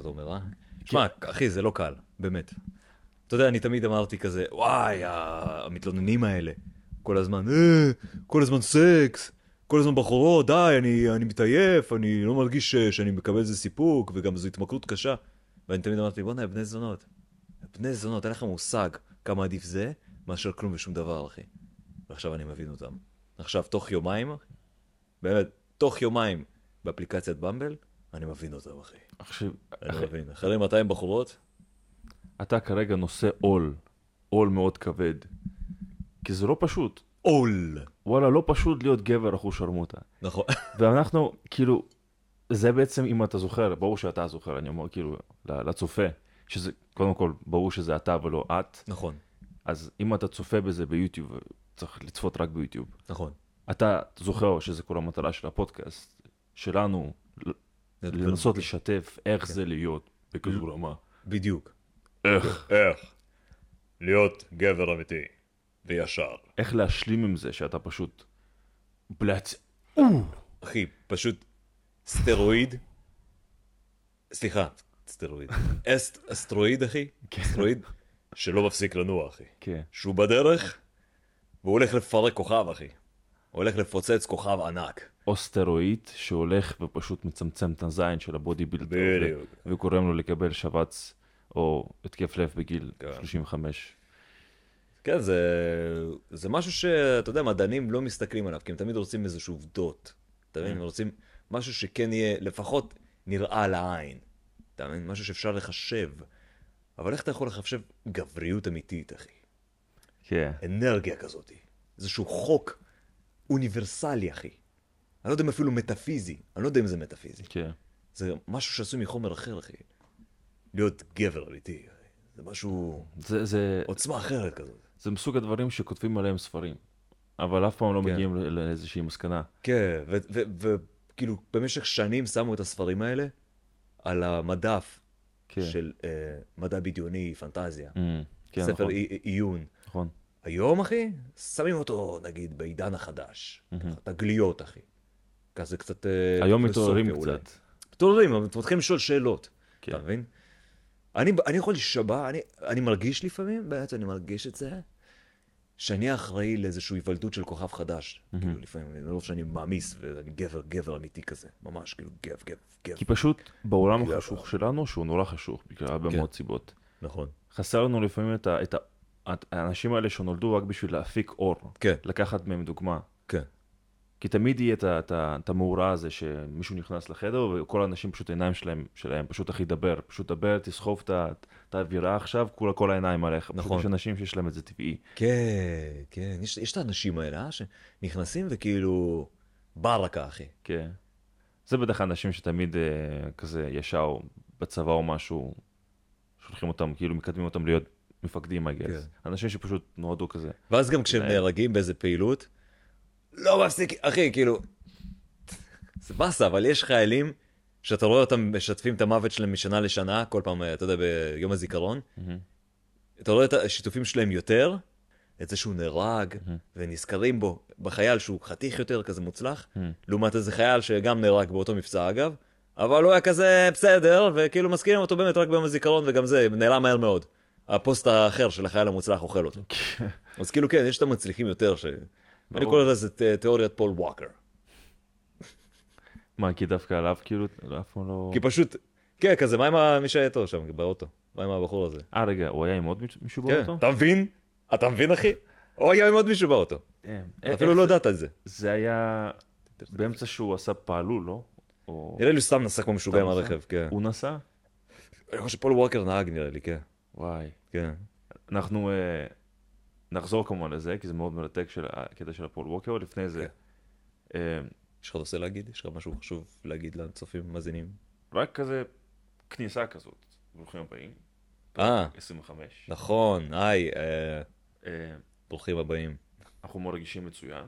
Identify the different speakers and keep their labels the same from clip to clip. Speaker 1: אתה אומר, אה? שמע, אחי, זה לא קל, באמת. אתה יודע, אני תמיד אמרתי כזה, וואי, המתלוננים האלה, כל הזמן, אה, כל הזמן סקס, כל הזמן בחורות, די, אני, אני מתעייף, אני לא מרגיש ש, שאני מקבל איזה סיפוק, וגם זו התמכרות קשה. ואני תמיד אמרתי, בואנה, בני זונות. בני זונות, אין לך מושג כמה עדיף זה, מאשר כלום ושום דבר, אחי. ועכשיו אני מבין אותם. עכשיו, תוך יומיים, באמת, תוך יומיים, באפליקציית במבל, אני מבין אותם, אחי.
Speaker 2: עכשיו,
Speaker 1: אני לא
Speaker 2: אחי,
Speaker 1: מבין. אחרי 200 בחורות,
Speaker 2: אתה כרגע נושא עול, עול מאוד כבד. כי זה לא פשוט.
Speaker 1: עול.
Speaker 2: וואלה, לא פשוט להיות גבר אחושרמוטה.
Speaker 1: נכון.
Speaker 2: ואנחנו, כאילו, זה בעצם, אם אתה זוכר, ברור שאתה זוכר, אני אומר, כאילו, לצופה, שזה, קודם כל, ברור שזה אתה ולא את,
Speaker 1: נכון,
Speaker 2: אז אם אתה צופה בזה ביוטיוב, צריך לצפות רק ביוטיוב.
Speaker 1: נכון.
Speaker 2: אתה זוכר שזה כל המטרה של הפודקאסט שלנו, לנסות לשתף איך זה להיות בכזו רמה.
Speaker 1: בדיוק.
Speaker 2: איך?
Speaker 1: איך? להיות גבר אמיתי וישר.
Speaker 2: איך להשלים עם זה שאתה פשוט... בלאצ...
Speaker 1: אחי, פשוט סטרואיד. סליחה, סטרואיד. אסט, אסטרואיד, אחי.
Speaker 2: כן.
Speaker 1: אסטרואיד שלא מפסיק לנוע, אחי.
Speaker 2: כן.
Speaker 1: שהוא בדרך, והוא הולך לפרק כוכב, אחי. הוא הולך לפוצץ כוכב ענק.
Speaker 2: או סטרואיד שהולך ופשוט מצמצם את הזין של הבודי בילדר.
Speaker 1: בדיוק.
Speaker 2: ו- וגורם לו לקבל שבץ או התקף לב בגיל
Speaker 1: כן.
Speaker 2: 35.
Speaker 1: כן, זה, זה משהו שאתה יודע, מדענים לא מסתכלים עליו, כי הם תמיד רוצים איזשהו עובדות. אתה מבין? הם רוצים משהו שכן יהיה, לפחות נראה לעין. אתה מבין? משהו שאפשר לחשב. אבל איך אתה יכול לחשב גבריות אמיתית, אחי?
Speaker 2: כן.
Speaker 1: אנרגיה כזאת. איזשהו חוק אוניברסלי, אחי. אני לא יודע אם אפילו מטאפיזי. אני לא יודע אם זה מטאפיזי.
Speaker 2: כן.
Speaker 1: זה משהו שעשוי מחומר אחר, אחי. להיות גבר אמיתי. אחי. זה משהו...
Speaker 2: זה, זה,
Speaker 1: עוצמה אחרת כזאת.
Speaker 2: זה מסוג הדברים שכותבים עליהם ספרים, אבל אף פעם לא
Speaker 1: כן.
Speaker 2: מגיעים לא- לאיזושהי מסקנה.
Speaker 1: כן, וכאילו כאילו, במשך שנים שמו את הספרים האלה על המדף
Speaker 2: כן.
Speaker 1: של אה, מדע בדיוני, פנטזיה,
Speaker 2: Mm, כן,
Speaker 1: ספר
Speaker 2: נכון,
Speaker 1: אי- עיון.
Speaker 2: נכון.
Speaker 1: היום, אחי, שמים אותו, נגיד, בעידן החדש. ככה, תגליות, אחי. כזה קצת... אה,
Speaker 2: היום
Speaker 1: פילוסופיה
Speaker 2: מתעוררים
Speaker 1: אולי.
Speaker 2: קצת.
Speaker 1: מתעוררים, אבל אתם מתחילים לשאול שאלות.
Speaker 2: כן.
Speaker 1: אתה מבין? אני, אני יכול להישבע, אני, אני מרגיש לפעמים, באמת אני מרגיש את זה, שאני אחראי לאיזושהי היוולדות של כוכב חדש. Mm-hmm. כאילו לפעמים, מרוב שאני מעמיס, ואני גבר, גבר אמיתי כזה. ממש, כאילו, גב, גב, גב.
Speaker 2: כי פשוט בעולם
Speaker 1: כן.
Speaker 2: החשוך שלנו, שהוא נורא חשוך, בגלל הרבה
Speaker 1: כן.
Speaker 2: מאוד סיבות,
Speaker 1: נכון.
Speaker 2: חסר לנו לפעמים את ה- את ה- את האנשים האלה שנולדו רק בשביל להפיק אור.
Speaker 1: כן.
Speaker 2: לקחת מהם דוגמה.
Speaker 1: כן.
Speaker 2: כי תמיד יהיה את ה- את ה- את המאורע הזה שמישהו נכנס לחדר וכל האנשים פשוט העיניים שלהם, שלהם פשוט הכי דבר, פשוט דבר, תסחוב את ה- את האווירה עכשיו, כולה כל העיניים עליך. פשוט
Speaker 1: נכון.
Speaker 2: יש אנשים שיש להם את זה טבעי.
Speaker 1: כן, כן. יש, יש את האנשים האלה, אה, שנכנסים וכאילו... ברקה, אחי.
Speaker 2: כן. זה בדרך כלל אנשים שתמיד אה, כזה ישר בצבא או משהו, שולחים אותם, כאילו מקדמים אותם להיות מפקדים, I guess.
Speaker 1: כן.
Speaker 2: אנשים שפשוט נועדו כזה.
Speaker 1: ואז גם כשהם נהרגים באיזה פעילות, לא מפסיק, אחי, כאילו, זה באסה, אבל יש חיילים שאתה רואה אותם משתפים את המוות שלהם משנה לשנה, כל פעם, אה, אתה יודע, ביום הזיכרון, אתה רואה את השיתופים שלהם יותר, את זה שהוא נהרג, ונזכרים בו, בחייל שהוא חתיך יותר, כזה מוצלח, לעומת איזה חייל שגם נהרג באותו מבצע, אגב, אבל הוא היה כזה בסדר, וכאילו מזכירים אותו באמת רק ביום הזיכרון, וגם זה נעלם מהר מאוד. הפוסט האחר של החייל המוצלח אוכל אותו. אז כאילו כן, יש את המצליחים יותר ש... אני קורא לזה ת- תיאוריית פול ווקר.
Speaker 2: מה, כי דווקא עליו כאילו, לא, אף פעם לא...
Speaker 1: כי פשוט, כן, כזה, מה עם ה- מי שהיה איתו שם באוטו? מה עם הבחור הזה?
Speaker 2: אה, רגע, הוא היה עם עוד מישהו- מישהו
Speaker 1: כן,
Speaker 2: באוטו?
Speaker 1: אתה מבין? אתה מבין, אחי? או היה עם עוד מישהו באוטו.
Speaker 2: כן.
Speaker 1: אפילו לא ידעת את זה.
Speaker 2: זה היה באמצע שהוא עשה פעלול, לא? או...
Speaker 1: נראה לי הוא סתם נסע כמו משוגע עם
Speaker 2: נסע?
Speaker 1: הרכב, כן.
Speaker 2: הוא נסע?
Speaker 1: אני חושב שפול ווקר נהג נראה לי, כן.
Speaker 2: וואי.
Speaker 1: כן.
Speaker 2: אנחנו אה, נחזור כמובן לזה, כי זה מאוד מרתק של הקטע של הפול ווקר, לפני זה.
Speaker 1: כן.
Speaker 2: אה,
Speaker 1: יש לך נושא להגיד? יש לך משהו חשוב להגיד לצופים, מאזינים?
Speaker 2: רק כזה כניסה כזאת. ברוכים הבאים,
Speaker 1: אה,
Speaker 2: 25.
Speaker 1: נכון, היי, אה,
Speaker 2: אה,
Speaker 1: ברוכים הבאים.
Speaker 2: אנחנו מרגישים מצוין.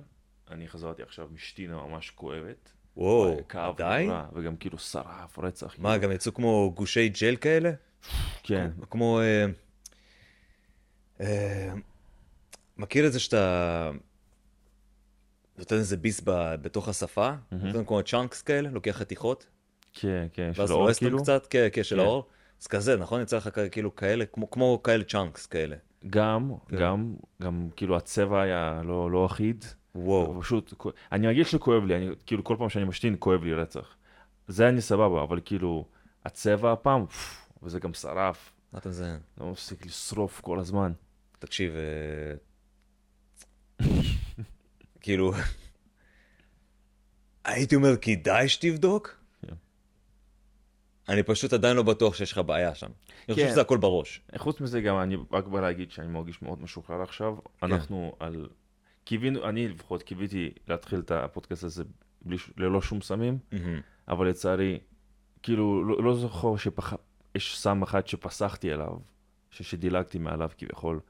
Speaker 2: אני חזרתי עכשיו משתינה ממש כואבת. אה,
Speaker 1: וואו,
Speaker 2: כאב
Speaker 1: עדיין?
Speaker 2: נורא, וגם כאילו שרף, רצח.
Speaker 1: מה, גם יצאו כמו גושי ג'ל כאלה?
Speaker 2: כן.
Speaker 1: כמו... אה, אה, מכיר את זה שאתה נותן איזה ביס ב- בתוך השפה? נותן כמו צ'אנקס כאלה, לוקח חתיכות,
Speaker 2: כן, כן, של
Speaker 1: ואז
Speaker 2: האור
Speaker 1: לועס
Speaker 2: כאילו.
Speaker 1: אותם קצת, כן, כן, של
Speaker 2: כן.
Speaker 1: האור. אז כזה, נכון? יצא לך כ- כאילו כאלה, כמו- כמו כאלה צ'אנקס כאלה.
Speaker 2: גם,
Speaker 1: כן.
Speaker 2: גם, גם כאילו הצבע היה לא, לא אחיד.
Speaker 1: וואו.
Speaker 2: הוא פשוט, כו- אני רגיל שכואב לי, אני, כאילו כל פעם שאני משתין כואב לי רצח. זה אני סבבה, אבל כאילו, הצבע הפעם, פפ, וזה גם שרף,
Speaker 1: מה אתה מזיין?
Speaker 2: לא מפסיק לשרוף כל הזמן.
Speaker 1: תקשיב, אה, כאילו, הייתי אומר, כדאי שתבדוק?
Speaker 2: כן.
Speaker 1: אני פשוט עדיין לא בטוח שיש לך בעיה שם. אני חושב
Speaker 2: כן.
Speaker 1: שזה הכל בראש.
Speaker 2: חוץ מזה גם אני רק בא להגיד שאני מרגיש מאוד משוחרר עכשיו.
Speaker 1: כן.
Speaker 2: אנחנו על... קיווינו, אני לפחות קיוויתי להתחיל את הפודקאסט הזה בלי, ש- ללא שום סמים,
Speaker 1: מהמם.
Speaker 2: אבל לצערי, כאילו, לא, לא זוכר שיש סם אחד שפסחתי עליו, ש, שדילגתי מעליו כביכול,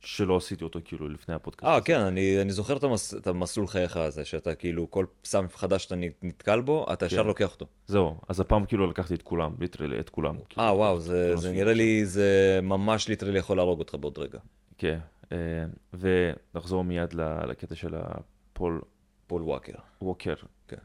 Speaker 2: שלא עשיתי אותו כאילו לפני הפודקאסט.
Speaker 1: אה,
Speaker 2: הזה.
Speaker 1: כן, אני, אני זוכר את, המס, את המסלול חייך הזה, שאתה כאילו, כל סם חדש שאתה נ- נתקל בו, אתה ישר
Speaker 2: כן.
Speaker 1: לוקח אותו.
Speaker 2: זהו, אז הפעם כאילו לקחתי את כולם, ליטרלי את כולם.
Speaker 1: אה, וואו, זה,
Speaker 2: כאילו,
Speaker 1: זה
Speaker 2: עשיתי
Speaker 1: נראה
Speaker 2: את
Speaker 1: לי, זה ממש ליטרלי יכול להרוג אותך בעוד רגע.
Speaker 2: זה. כן, אה, ונחזור מיד ל- לקטע של הפול
Speaker 1: פול וואקר.
Speaker 2: ווקר.
Speaker 1: כן.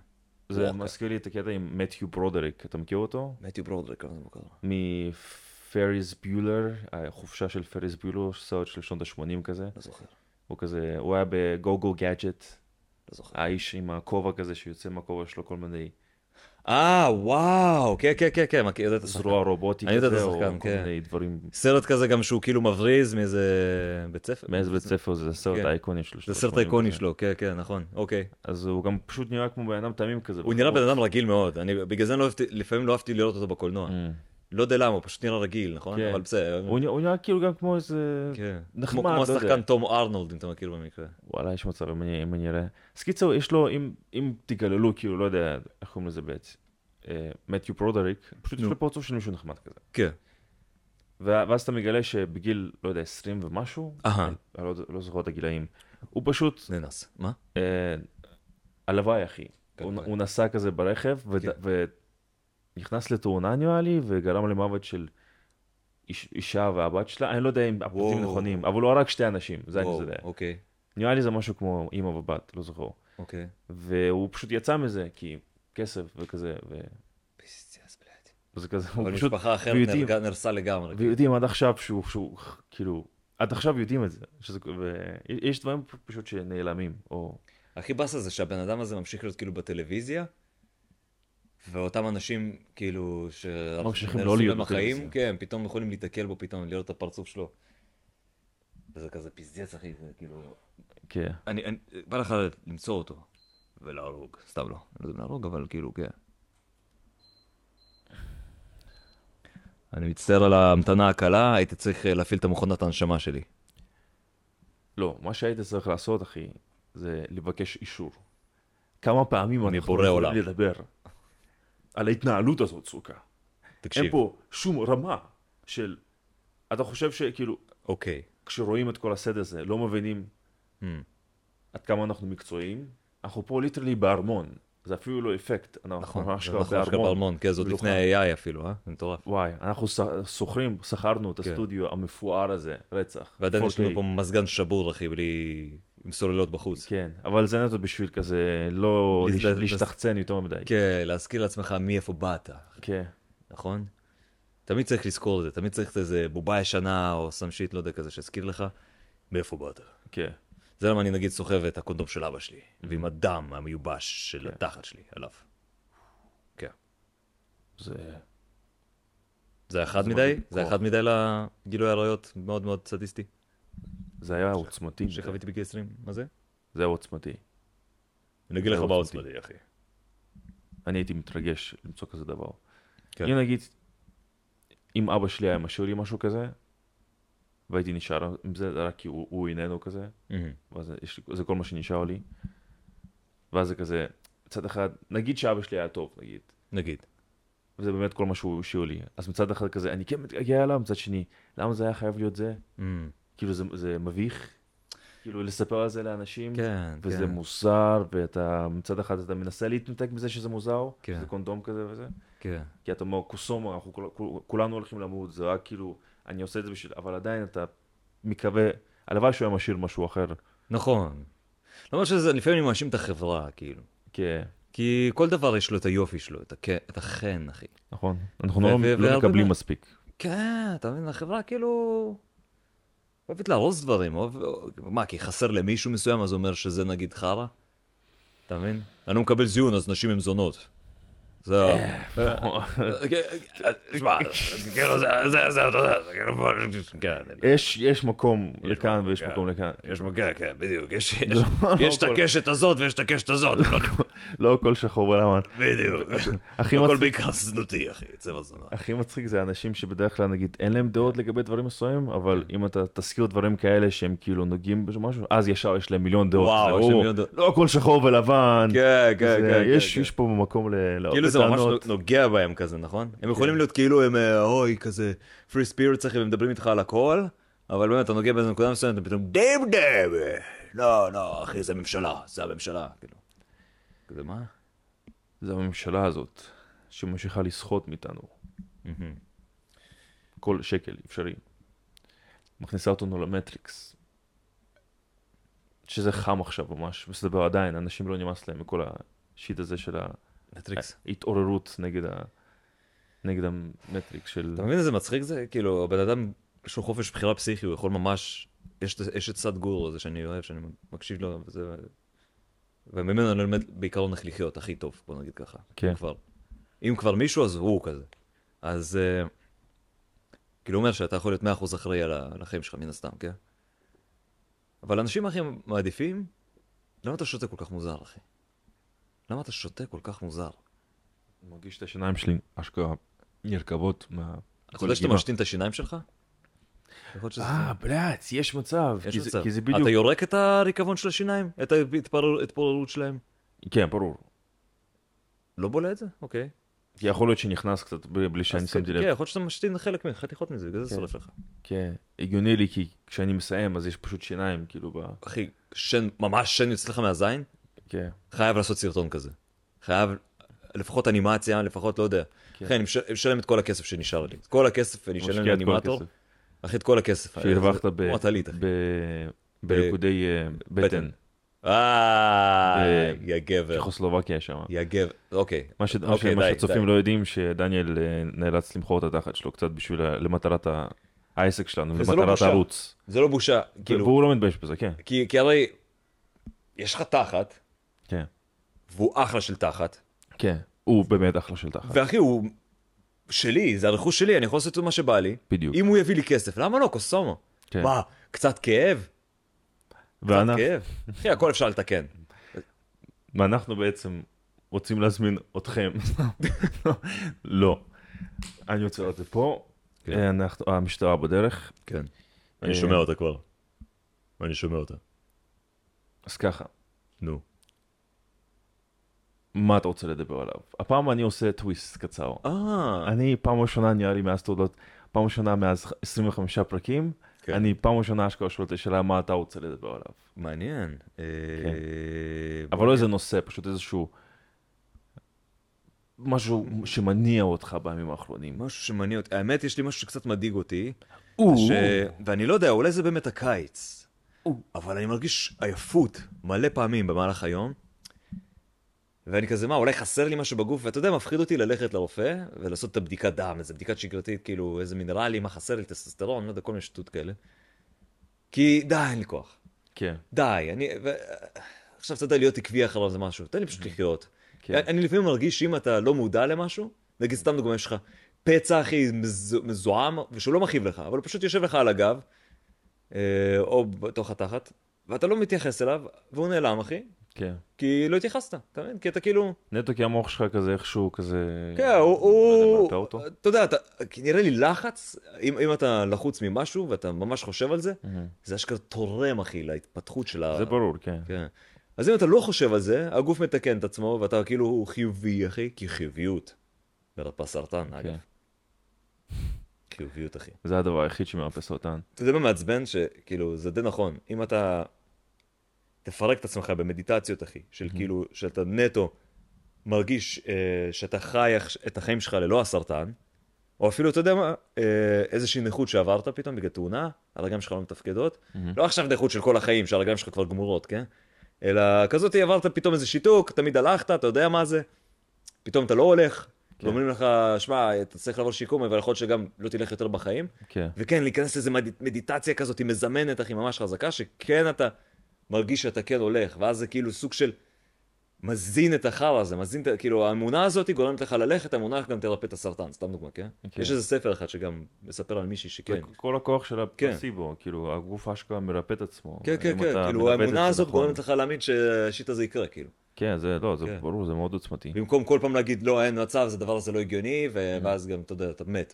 Speaker 2: זה
Speaker 1: ווקר.
Speaker 2: מזכיר לי את הקטע עם מתיו ברודריק, אתה מכיר אותו?
Speaker 1: מתיו ברודריק, לא כמה זה מוכר.
Speaker 2: מפריס ביולר, החופשה של פריס ביולר, סרט של שנות ה-80 כזה.
Speaker 1: לא זוכר,
Speaker 2: הוא כזה, הוא היה בגו-גו גאדג'ט,
Speaker 1: לא זוכר.
Speaker 2: האיש עם הכובע כזה שיוצא מהכובע שלו כל מיני
Speaker 1: אה, וואו, כן, כן, כן, כן, מכיר, יודע את השחקן.
Speaker 2: זרוע רובוטי
Speaker 1: אני יודע את
Speaker 2: כזה, או
Speaker 1: השחקן,
Speaker 2: כל
Speaker 1: כן.
Speaker 2: מיני דברים.
Speaker 1: סרט כזה גם שהוא כאילו מבריז מאיזה בית ספר.
Speaker 2: מאיזה בית ספר זה הסרט
Speaker 1: כן.
Speaker 2: האיקוני שלו. של
Speaker 1: זה סרט
Speaker 2: ה-80
Speaker 1: האיקוני
Speaker 2: כזה.
Speaker 1: שלו, כן, כן, נכון, אוקיי.
Speaker 2: אז הוא גם פשוט נראה כמו בן אדם תמים כזה.
Speaker 1: הוא נראה
Speaker 2: בחור.
Speaker 1: בן אדם רגיל מאוד, אני בגלל זה אני לא אהבתי- לפעמים לא אהבתי לראות אותו בקולנוע.
Speaker 2: Mm.
Speaker 1: לא יודע למה, הוא פשוט נראה רגיל, נכון?
Speaker 2: כן.
Speaker 1: אבל בסדר.
Speaker 2: הוא נראה- הוא נראה כאילו גם כמו איזה...
Speaker 1: כן.
Speaker 2: נחמד,
Speaker 1: כמו
Speaker 2: לא
Speaker 1: כמו
Speaker 2: יודע.
Speaker 1: השחקן תום ארנולד, אם אתה מכיר במקרה.
Speaker 2: וואלה, יש מצב, אם אני, אם אני אראה. אז קיצור, יש לו, אם, אם תגללו, כאילו, לא יודע איך קוראים לזה בעצם, אה, מתיו פרודריק, פשוט יש
Speaker 1: נו.
Speaker 2: לו פרצוף של מישהו נחמד כזה.
Speaker 1: כן.
Speaker 2: וה- ואז אתה מגלה שבגיל, לא יודע, 20 ומשהו,
Speaker 1: אהה.
Speaker 2: אני לא, לא זוכר את הגילאים, הוא פשוט,
Speaker 1: נאנס. כן. מה?
Speaker 2: אה, הלוואי, אחי, הוא,
Speaker 1: כן, הלוואי.
Speaker 2: הוא נסע כזה ברכב, וד,
Speaker 1: כן.
Speaker 2: ונכנס לתאונה, נראה לי, וגרם למוות של... איש, אישה והבת שלה, אני לא יודע אם הפרטים
Speaker 1: וואו.
Speaker 2: נכונים, אבל הוא הרג שתי אנשים, זה אני יודע.
Speaker 1: אוקיי,
Speaker 2: נראה לי זה משהו כמו אימא ובת, לא זוכר.
Speaker 1: אוקיי.
Speaker 2: והוא פשוט יצא מזה, כי כסף וכזה, ו...
Speaker 1: פיסטיאס, בלעד.
Speaker 2: וזה כזה, הוא
Speaker 1: אבל
Speaker 2: פשוט,
Speaker 1: משפחה אחרת
Speaker 2: ויודעים-
Speaker 1: נהרגה- נהרסה לגמרי.
Speaker 2: ויודעים עד עכשיו שהוא, שהוא, כאילו, עד עכשיו יודעים את זה, שזה, ו... יש דברים פשוט שנעלמים, או...
Speaker 1: הכי באסה זה שהבן אדם הזה ממשיך להיות כאילו בטלוויזיה, ואותם אנשים כאילו ש...
Speaker 2: ממשיכים
Speaker 1: שנהרסו
Speaker 2: לא להיות
Speaker 1: להם החיים,
Speaker 2: בטלוויזיה.
Speaker 1: כן, פתאום יכולים להתקל בו, פתאום לראות את הפרצוף שלו. וזה כזה פיזדץ, אחי, זה כאילו...
Speaker 2: כן.
Speaker 1: אני, אני, בא לך למצוא אותו ולהרוג, סתם לא, לא יודע אם להרוג, אבל כאילו, כן. אני מצטער על ההמתנה הקלה, הייתי צריך אה, להפעיל את המכונת ההנשמה שלי.
Speaker 2: לא, מה שהיית צריך לעשות, אחי, זה לבקש אישור. כמה פעמים אני
Speaker 1: מבורא עולם.
Speaker 2: לדבר על ההתנהלות הזאת, סוכה. אין
Speaker 1: תקשיב,
Speaker 2: פה שום רמה של... אתה חושב שכאילו,
Speaker 1: אוקיי.
Speaker 2: כשרואים את כל הסד הזה, לא מבינים
Speaker 1: Hmm.
Speaker 2: עד כמה אנחנו מקצועיים. אנחנו פה ליטרלי בארמון, זה אפילו לא אפקט, אנחנו
Speaker 1: נכון,
Speaker 2: ממש
Speaker 1: זה
Speaker 2: כבר
Speaker 1: נכון, אשכרה
Speaker 2: בארמון.
Speaker 1: בארמון, כן, זה עוד
Speaker 2: במיוחד.
Speaker 1: לפני ה-AI אפילו, אה? זה מטורף.
Speaker 2: וואי, אנחנו ש- שוכרים, שכרנו את
Speaker 1: כן.
Speaker 2: הסטודיו המפואר הזה, רצח.
Speaker 1: ועדיין יש
Speaker 2: 4K.
Speaker 1: לנו פה מזגן שבור, אחי, בלי... עם סוללות בחוץ.
Speaker 2: כן, אבל זה נטו בשביל כזה לא
Speaker 1: לס-
Speaker 2: לש-
Speaker 1: לס-
Speaker 2: להשתחצן יותר מדי.
Speaker 1: כן, להזכיר לעצמך מאיפה באת,
Speaker 2: כן.
Speaker 1: נכון? תמיד צריך לזכור את זה, תמיד צריך איזה בובה ישנה או סם שיט, לא יודע, כזה, שיזכיר לך מאיפה באת.
Speaker 2: כן.
Speaker 1: זה למה אני נגיד סוחב את הקונדום של אבא שלי, ועם הדם המיובש של
Speaker 2: כן.
Speaker 1: התחת שלי עליו. כן.
Speaker 2: זה...
Speaker 1: זה אחד
Speaker 2: זה
Speaker 1: מדי,
Speaker 2: מגניב.
Speaker 1: זה
Speaker 2: כוח.
Speaker 1: אחד מדי לגילוי עריות מאוד מאוד סדיסטי
Speaker 2: זה היה עוצמתי.
Speaker 1: שחוויתי בגיל 20, מה זה?
Speaker 2: זה היה עוצמתי.
Speaker 1: אני אגיד
Speaker 2: זה
Speaker 1: לך
Speaker 2: מאוד
Speaker 1: מה
Speaker 2: סודי.
Speaker 1: עוצמתי, אחי.
Speaker 2: אני הייתי מתרגש למצוא כזה דבר.
Speaker 1: כן.
Speaker 2: אם נגיד, אם אבא שלי היה משאיר לי משהו כזה, והייתי נשאר עם זה רק כי הוא הוא איננו כזה,
Speaker 1: מהמם.
Speaker 2: ואז יש לי, זה כל מה שנשאר לי. ואז זה כזה, מצד אחד, נגיד שאבא שלי היה טוב, נגיד,
Speaker 1: נגיד.
Speaker 2: וזה באמת כל מה שהוא השאיר לי. אז מצד אחד כזה, אני כן מתגעגע אליו, מצד שני, למה זה היה חייב להיות זה?
Speaker 1: מהמם.
Speaker 2: כאילו זה, זה מביך, כאילו לספר על זה לאנשים,
Speaker 1: כן,
Speaker 2: וזה
Speaker 1: כן.
Speaker 2: מוזר, ואתה, מצד אחד אתה מנסה להתנתק מזה שזה מוזר,
Speaker 1: כן.
Speaker 2: זה קונדום כזה וזה,
Speaker 1: כן.
Speaker 2: כי אתה אומר, קוסומו, אנחנו כול- כול- כולנו הולכים למות, זה רק כאילו, אני עושה את זה בשביל, אבל עדיין אתה מקווה, הלוואי שהוא היה משאיר משהו אחר,
Speaker 1: נכון. למרות שזה, לפעמים אני מאשים את החברה, כאילו.
Speaker 2: כן.
Speaker 1: כי כל דבר יש לו את היופי שלו, את הכ- את החן, אחי.
Speaker 2: נכון. אנחנו
Speaker 1: ו-
Speaker 2: לא-
Speaker 1: ו-
Speaker 2: לא
Speaker 1: והרבה
Speaker 2: מקבלים
Speaker 1: מה-
Speaker 2: מספיק.
Speaker 1: כן, אתה מבין, החברה כאילו... אוהבת להרוס דברים, אוהב... מה, כי חסר למישהו מסוים, אז אומר שזה נגיד חרא? אתה מבין? אני לא מקבל זיון, אז נשים הן זונות. זה... תשמע, כאילו זה, זה, זה, אתה יודע, זה כאילו... בוא, כן,
Speaker 2: יש יש מקום לכאן ויש מקום לכאן.
Speaker 1: יש מגע, כן, בדיוק, יש- יש-
Speaker 2: לא
Speaker 1: יש את
Speaker 2: הכל.
Speaker 1: הקשת הזאת ויש את הקשת הזאת, לא,
Speaker 2: לא הכל שחור ולבן.
Speaker 1: בדיוק.
Speaker 2: הכי
Speaker 1: הכל
Speaker 2: מצחיק-
Speaker 1: בעיקר זנותי, אחי, צבע זונה.
Speaker 2: הכי מצחיק זה אנשים שבדרך כלל נגיד אין להם דעות לגבי דברים מסוימים, אבל
Speaker 1: כן.
Speaker 2: אם אתה תזכיר דברים כאלה שהם כאילו נוגעים במשהו, אז ישר יש להם מיליון דעות.
Speaker 1: וואו,
Speaker 2: זה,
Speaker 1: יש להם
Speaker 2: "או,
Speaker 1: מיליון דעות."
Speaker 2: לא הכל שחור ולבן.
Speaker 1: כן,
Speaker 2: זה-
Speaker 1: כן, כן.
Speaker 2: יש
Speaker 1: כן,
Speaker 2: יש פה מקום ל... להרבה
Speaker 1: כאילו זה ממש
Speaker 2: טענות. כן.
Speaker 1: נוגע בהם כזה, נכון? הם יכולים להיות כאילו הם אה, אוי כזה פרי ספירט אחי, והם מדברים איתך על הכל, אבל באמת אתה נוגע באיזה נקודה מסוימת, אתה פתאום דם דם, אה, לא, לא, אחי, זה ממשלה, זה הממשלה, כאילו. כזה מה?
Speaker 2: זה הממשלה הזאת, שממשיכה לסחוט מאיתנו. כל שקל אפשרי. מכניסה אותנו למטריקס. שזה חם עכשיו ממש, מסתבר עדיין, אנשים לא נמאס להם מכל השיט הזה של ה... אה,
Speaker 1: מטריקס.
Speaker 2: התעוררות נגד, ה... נגד המטריקס של...
Speaker 1: אתה מבין איזה מצחיק זה? כאילו, הבן אדם, יש לו חופש בחירה פסיכי, הוא יכול ממש... יש את- יש את סאד גורו הזה שאני אוהב, שאני מקשיב לו, וזה... וממנו אני לומד בעיקרון איך לחיות הכי טוב, בוא נגיד ככה.
Speaker 2: כן.
Speaker 1: אם כבר, אם כבר מישהו, אז הוא כזה. אז... אה, כאילו, הוא אומר שאתה יכול להיות 100% אחראי על ה- על החיים שלך, מן הסתם, כן? אבל אנשים הכי מעדיפים, למה אתה שותה כל כך מוזר, אחי? למה אתה שותה כל כך מוזר?
Speaker 2: אני מרגיש את השיניים שלי אשכרה נרקבות מה...
Speaker 1: אתה יודע שאתה משתין את השיניים שלך? יכול להיות שזה-
Speaker 2: אה, בלאץ, יש מצב.
Speaker 1: יש
Speaker 2: כי זה-
Speaker 1: מצב.
Speaker 2: כי זה בדיוק...
Speaker 1: אתה יורק את הריקבון של השיניים? את ההתפוררות שלהם?
Speaker 2: כן, ברור.
Speaker 1: לא בולע את זה? אוקיי.
Speaker 2: כי יכול להיות שנכנס קצת ב- בלי שאני
Speaker 1: אז
Speaker 2: שמתי
Speaker 1: כן,
Speaker 2: לב.
Speaker 1: כן, יכול להיות שאתה משתין חלק מ- חתיכות מזה, בגלל זה
Speaker 2: כן.
Speaker 1: שורף לך.
Speaker 2: כן. הגיוני לי, כי כשאני מסיים אז יש פשוט שיניים, כאילו ב...
Speaker 1: אחי, שן, ממש שן יוצא לך מהזין?
Speaker 2: כן.
Speaker 1: חייב לעשות סרטון כזה. חייב, לפחות אנימציה, לפחות לא יודע.
Speaker 2: כן.
Speaker 1: אחי, אני מש- משלם את כל הכסף שנשאר לי. את כל הכסף אני
Speaker 2: משקיע
Speaker 1: אשלם
Speaker 2: את כל
Speaker 1: לאנימטור.
Speaker 2: הכסף.
Speaker 1: אחי, את כל הכסף.
Speaker 2: שהרווחת
Speaker 1: זה
Speaker 2: ב...
Speaker 1: כמו הטלית, אחי.
Speaker 2: ב- בריקודי אה, בטן.
Speaker 1: בטן. אה,
Speaker 2: ב-
Speaker 1: יא גבר.
Speaker 2: צ'כוסלובקיה שם.
Speaker 1: יא גבר. אוקיי.
Speaker 2: מה ש- מה ש-
Speaker 1: אוקיי,
Speaker 2: מה
Speaker 1: די,
Speaker 2: שהצופים
Speaker 1: די.
Speaker 2: לא יודעים, שדניאל אה, נאלץ למכור את התחת שלו קצת בשביל, ה- למטרת ה- העסק שלנו,
Speaker 1: וזה לא
Speaker 2: למטרת
Speaker 1: בושה.
Speaker 2: הערוץ.
Speaker 1: זה לא בושה. כאילו,
Speaker 2: והוא לא מתבייש בזה, כן.
Speaker 1: כי, כי הרי יש לך תחת,
Speaker 2: כן.
Speaker 1: והוא אחלה של תחת,
Speaker 2: כן. הוא באמת אחלה של תחת.
Speaker 1: ואחי הוא שלי, זה הרכוש שלי, אני יכול לעשות מה שבא לי.
Speaker 2: בדיוק.
Speaker 1: אם הוא יביא לי כסף, למה לא? קוסומו.
Speaker 2: כן.
Speaker 1: מה, קצת כאב? קצת
Speaker 2: ואנ-
Speaker 1: כאב. אחי, הכל אפשר לתקן.
Speaker 2: ואנחנו בעצם רוצים להזמין אתכם. לא. אני רוצה לראות את זה פה.
Speaker 1: כן.
Speaker 2: אה, אנחנו- המשטרה בדרך.
Speaker 1: כן.
Speaker 2: אני שומע
Speaker 1: אותה כבר. אני שומע אותה.
Speaker 2: אז ככה,
Speaker 1: נו.
Speaker 2: מה אתה רוצה לדבר עליו? הפעם אני עושה טוויסט קצר.
Speaker 1: אה,
Speaker 2: אני פעם ראשונה נראה לי מאז תעודות, פעם ראשונה מאז 25 פרקים,
Speaker 1: כן.
Speaker 2: אני פעם ראשונה אשכרה שואל את השאלה מה אתה רוצה לדבר עליו.
Speaker 1: מעניין. אה,
Speaker 2: כן. אבל לא איזה נושא, פשוט איזשהו... משהו שמניע אותך בימים האחרונים.
Speaker 1: משהו שמניע אותי, האמת יש לי משהו שקצת מדאיג אותי,
Speaker 2: או,
Speaker 1: ש... ואני לא יודע, אולי זה באמת הקיץ, אבל אני מרגיש עייפות מלא פעמים במהלך היום, ואני כזה, מה, אולי חסר לי משהו בגוף, ואתה יודע, מפחיד אותי ללכת לרופא ולעשות את הבדיקת דם, איזה בדיקה שגרתית, כאילו, איזה מינרלים, מה חסר לי, טסטסטרון, לא יודע, כל מיני שטות כאלה. כי די, אין לי כוח.
Speaker 2: כן,
Speaker 1: די, אני... ו... עכשיו, אתה יודע, להיות עקבי אחריו זה משהו, תן לי פשוט לחיות.
Speaker 2: כן.
Speaker 1: אני לפעמים מרגיש שאם אתה לא מודע למשהו, נגיד סתם דוגמא, יש לך פצע הכי מזוהם, ושהוא לא מכאיב לך, אבל הוא פשוט יושב לך על הגב, אה, או בתוך התחת, ואתה לא מתייחס אליו, והוא נעלם, אחי,
Speaker 2: כן.
Speaker 1: כי לא התייחסת, אתה מבין? כי אתה כאילו...
Speaker 2: נטו כי המוח שלך כזה איכשהו כזה...
Speaker 1: כן, הוא...
Speaker 2: לא יודע,
Speaker 1: הוא-
Speaker 2: מרפא אותו?
Speaker 1: אתה יודע, אתה- כי נראה לי לחץ, אם אם אתה לחוץ ממשהו ואתה ממש חושב על זה,
Speaker 2: מהמם.
Speaker 1: זה אשכרה תורם, אחי, להתפתחות של ה...
Speaker 2: זה ברור, כן.
Speaker 1: כן. אז אם אתה לא חושב על זה, הגוף מתקן את עצמו, ואתה כאילו הוא חיובי, אחי, כי חיוביות. מרפא סרטן, אגב.
Speaker 2: כן.
Speaker 1: חיוביות, אחי.
Speaker 2: זה הדבר היחיד שמאפס סרטן.
Speaker 1: אתה יודע מה מעצבן? שכאילו, זה די נכון. אם אתה תפרק את עצמך במדיטציות, אחי, של כאילו, שאתה נטו מרגיש אה, שאתה חי עכש- את החיים שלך ללא הסרטן, או אפילו, אתה יודע מה, אה, איזושהי נכות שעברת פתאום בגלל תאונה, הרגליים שלך לא מתפקדות. לא עכשיו נכות של כל החיים, שהרגליים שלך כבר גמורות, כן? אלא כזאת עברת פתאום איזה שיתוק, תמיד הלכת, אתה יודע מה זה, פתאום אתה לא הולך,
Speaker 2: כן.
Speaker 1: ואומרים לך, שמע, אתה צריך לעבור שיקום, אבל יכול להיות שגם לא תלך יותר בחיים.
Speaker 2: כן.
Speaker 1: וכן, להיכנס לאיזה מד... מדיטציה כזאת היא מזמנת, אחי, ממש חזקה, שכן אתה מרגיש שאתה כן הולך, ואז זה כאילו סוג של מזין את החרא הזה, מזין את, ה- כאילו, האמונה הזאת היא גורמת לך ללכת, האמונה גם תרפא את הסרטן, סתם דוגמה, כן?
Speaker 2: כן.
Speaker 1: כן? יש איזה ספר אחד שגם מספר על מישהי שכן.
Speaker 2: זה כל הכוח של הפלסיבו, כאילו הגוף אשכרה מרפא את עצמו.
Speaker 1: כן,
Speaker 2: אם
Speaker 1: כן, כן,
Speaker 2: אתה
Speaker 1: כאילו,
Speaker 2: מרפא את
Speaker 1: האמונה
Speaker 2: זה
Speaker 1: הזאת
Speaker 2: נכון.
Speaker 1: גורמת לך להאמין שהשיט הזה יקרה, כאילו.
Speaker 2: כן, זה לא, זה
Speaker 1: כן.
Speaker 2: ברור, זה מאוד עוצמתי.
Speaker 1: במקום כל פעם להגיד, לא, אין מצב, זה דבר הזה לא הגיוני, ו-
Speaker 2: כן.
Speaker 1: ואז גם, אתה יודע, אתה מת.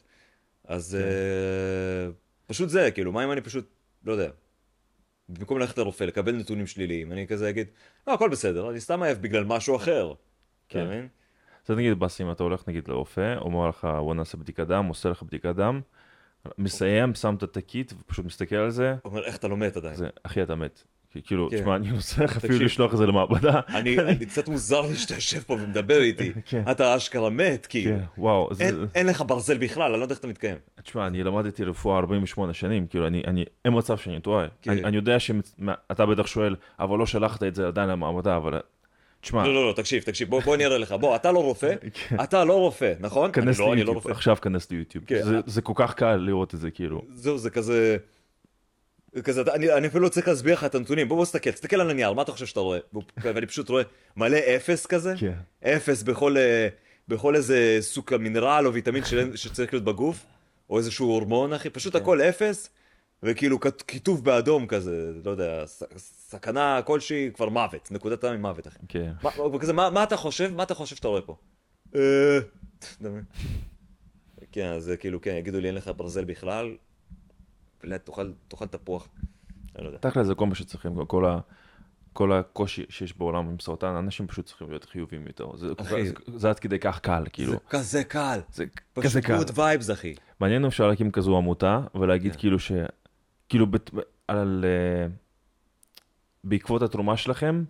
Speaker 1: אז אה, פשוט זה, כאילו, מה אם אני פשוט, לא יודע, במקום ללכת לרופא, לקבל נתונים שליליים, אני כזה אגיד, לא, הכל בסדר, אני סתם עייף בגלל משהו אחר.
Speaker 2: כן.
Speaker 1: אתה מבין?
Speaker 2: זה נגיד באסי, אם אתה הולך נגיד לרופא, אומר לך, בוא נעשה בדיקת דם, עושה לך בדיקת דם, מסיים, שם את התקית, ופשוט מסתכל על זה,
Speaker 1: הוא אומר, איך אתה לא מת עדיין?
Speaker 2: זה, אחי, אתה מת. כי- כאילו,
Speaker 1: כן.
Speaker 2: תשמע, אני רוצה לך אפילו
Speaker 1: תקשיב.
Speaker 2: לשלוח את זה למעבדה.
Speaker 1: אני, אני קצת מוזר לי שאתה יושב פה ומדבר איתי.
Speaker 2: כן.
Speaker 1: אתה אשכרה מת, כאילו.
Speaker 2: כן, וואו, זה-
Speaker 1: אין, אין לך ברזל בכלל, אני לא יודע איך אתה מתקיים.
Speaker 2: תשמע, אני למדתי רפואה 48 שנים, כאילו, אני, אני, אין מצב שאני טועה.
Speaker 1: כן.
Speaker 2: אני, אני יודע שאתה בטח שואל, אבל לא שלחת את זה עדיין למעבדה, אבל... תשמע,
Speaker 1: לא, לא, לא, תקשיב, תקשיב, בוא, בוא אני אראה לך. בוא, אתה לא רופא, אתה לא רופא, נכון? אני
Speaker 2: כן. כנס
Speaker 1: לא, אני לא
Speaker 2: ליוטיוב,
Speaker 1: רופא.
Speaker 2: עכשיו כנס ליוטיוב.
Speaker 1: כן,
Speaker 2: זה-
Speaker 1: אה.
Speaker 2: זה כל כך קל לראות את זה, כאילו.
Speaker 1: זהו, זה כזה... זה כזה, אתה- אני, אני אפילו לא צריך להסביר לך את הנתונים, בוא בוא תסתכל, תסתכל על הנייר, מה אתה חושב שאתה רואה? והוא- ואני פשוט רואה מלא אפס כזה,
Speaker 2: כן.
Speaker 1: אפס בכל, אה, בכל איזה סוג מינרל או ויטמין של, שצריך להיות בגוף, או איזשהו הורמון אחי, פשוט הכל אפס, וכאילו כת- כיתוב באדום כזה, לא יודע, ס, סכנה כלשהי, כבר מוות, נקודת מים מוות אחי.
Speaker 2: כן.
Speaker 1: מה, הוא כזה, מה, מה אתה חושב? מה אתה חושב שאתה רואה פה? אה... אתה מבין? כן, אז זה כאילו, כן, יגידו לי, אין לך ברזל בכלל, ולאט תאכל, תאכל תפוח. אני לא יודע.
Speaker 2: תכל'ס זה כל מה שצריכים, כל, ה, כל הקושי שיש בעולם עם סרטן, אנשים פשוט צריכים להיות חיובים יותר. זה, כל כך-
Speaker 1: אחי.
Speaker 2: זה, זה עד כדי כך קל, כאילו.
Speaker 1: זה כזה קל.
Speaker 2: זה כזה
Speaker 1: פשוט
Speaker 2: קל.
Speaker 1: גוד וייבס, אחי.
Speaker 2: מעניין אם אפשר להקים כזו עמותה ולהגיד
Speaker 1: כן.
Speaker 2: כאילו ש... כאילו בת... על... אה, בעקבות התרומה שלכם,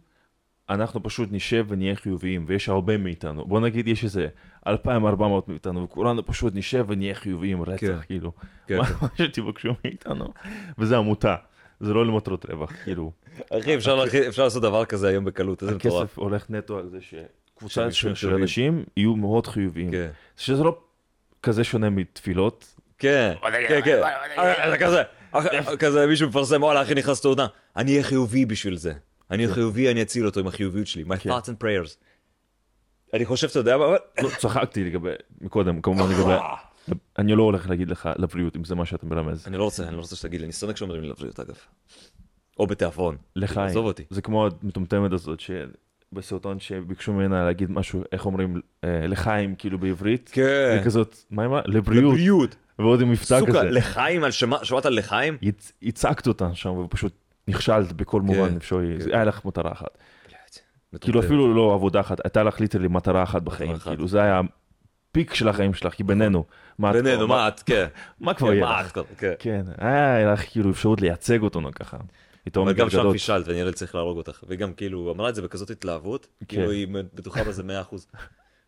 Speaker 2: אנחנו פשוט נשב ונהיה חיוביים, ויש הרבה מאיתנו. בוא נגיד יש איזה 2,400 מאיתנו, וכולנו פשוט נשב ונהיה חיוביים רצח,
Speaker 1: כן.
Speaker 2: כאילו.
Speaker 1: כן,
Speaker 2: מה מה שתבקשו מאיתנו, וזה עמותה. זה לא למטרות רווח, כאילו.
Speaker 1: אחי, אפשר, להכי- אפשר לעשות דבר כזה היום בקלות, איזה מטורף.
Speaker 2: הכסף הולך נטו על זה
Speaker 1: שהם
Speaker 2: שקבוצה
Speaker 1: יהיו
Speaker 2: של של
Speaker 1: חיוביים.
Speaker 2: אנשים יהיו מאוד חיוביים.
Speaker 1: כן,
Speaker 2: שזה לא כזה שונה מתפילות.
Speaker 1: כן, כן, כן. אה, זה כזה, אה, כזה מישהו מפרסם, וואלה, אחי, נכנס תאונה. אני אהיה חיובי בשביל זה. אני אהיה חיובי, אני אציל אותו עם החיוביות שלי. My
Speaker 2: כן.
Speaker 1: thoughts and prayers. אני חושב, אתה יודע מה? אה,
Speaker 2: לא, צחקתי לגבי, מקודם, כמובן לגבי... אני לא הולך להגיד לך לבריאות, אם זה מה שאתה מרמז.
Speaker 1: אני לא רוצה, אני לא רוצה שתגיד לי, אני שונא כשאומרים לי לבריאות אגב. או בתיאבון.
Speaker 2: לחיים.
Speaker 1: עזוב אותי.
Speaker 2: זה כמו המטומטמת הזאת, שבסרטון שביקשו ממנה להגיד משהו, איך אומרים, אה, לחיים, כאילו בעברית.
Speaker 1: כן.
Speaker 2: וכזאת, מה עם ה... לבריאות. ועוד עם מבטא
Speaker 1: סוכה,
Speaker 2: כזה.
Speaker 1: לחיים, על שמה- שמעת על לחיים?
Speaker 2: הצ- הצגת אותה שם, ופשוט נכשלת בכל מובן
Speaker 1: כן,
Speaker 2: אפשרי.
Speaker 1: כן.
Speaker 2: זה היה לך מטרה אחת.
Speaker 1: מטומטם.
Speaker 2: כאילו אפילו לא עבודה אחת, הייתה לך ליטרלי מטרה אחת בחיים,
Speaker 1: אוקיי. אחת.
Speaker 2: כאילו זה היה הפיק של החיים שלך, כי בינינו, מה את כבר-
Speaker 1: בינינו, מה את, כן.
Speaker 2: מה כבר
Speaker 1: כן,
Speaker 2: יהיה
Speaker 1: מה
Speaker 2: לך?
Speaker 1: את כבר, כן.
Speaker 2: כן, היה לך כאילו אפשרות לייצג אותנו ככה. איתו
Speaker 1: אבל גם שם
Speaker 2: מגלגלות.
Speaker 1: פישלת, ונראה לי צריך להרוג אותך. והיא גם כאילו אמרה את זה בכזאת התלהבות,
Speaker 2: כן.
Speaker 1: כאילו היא בטוחה בזה 100%.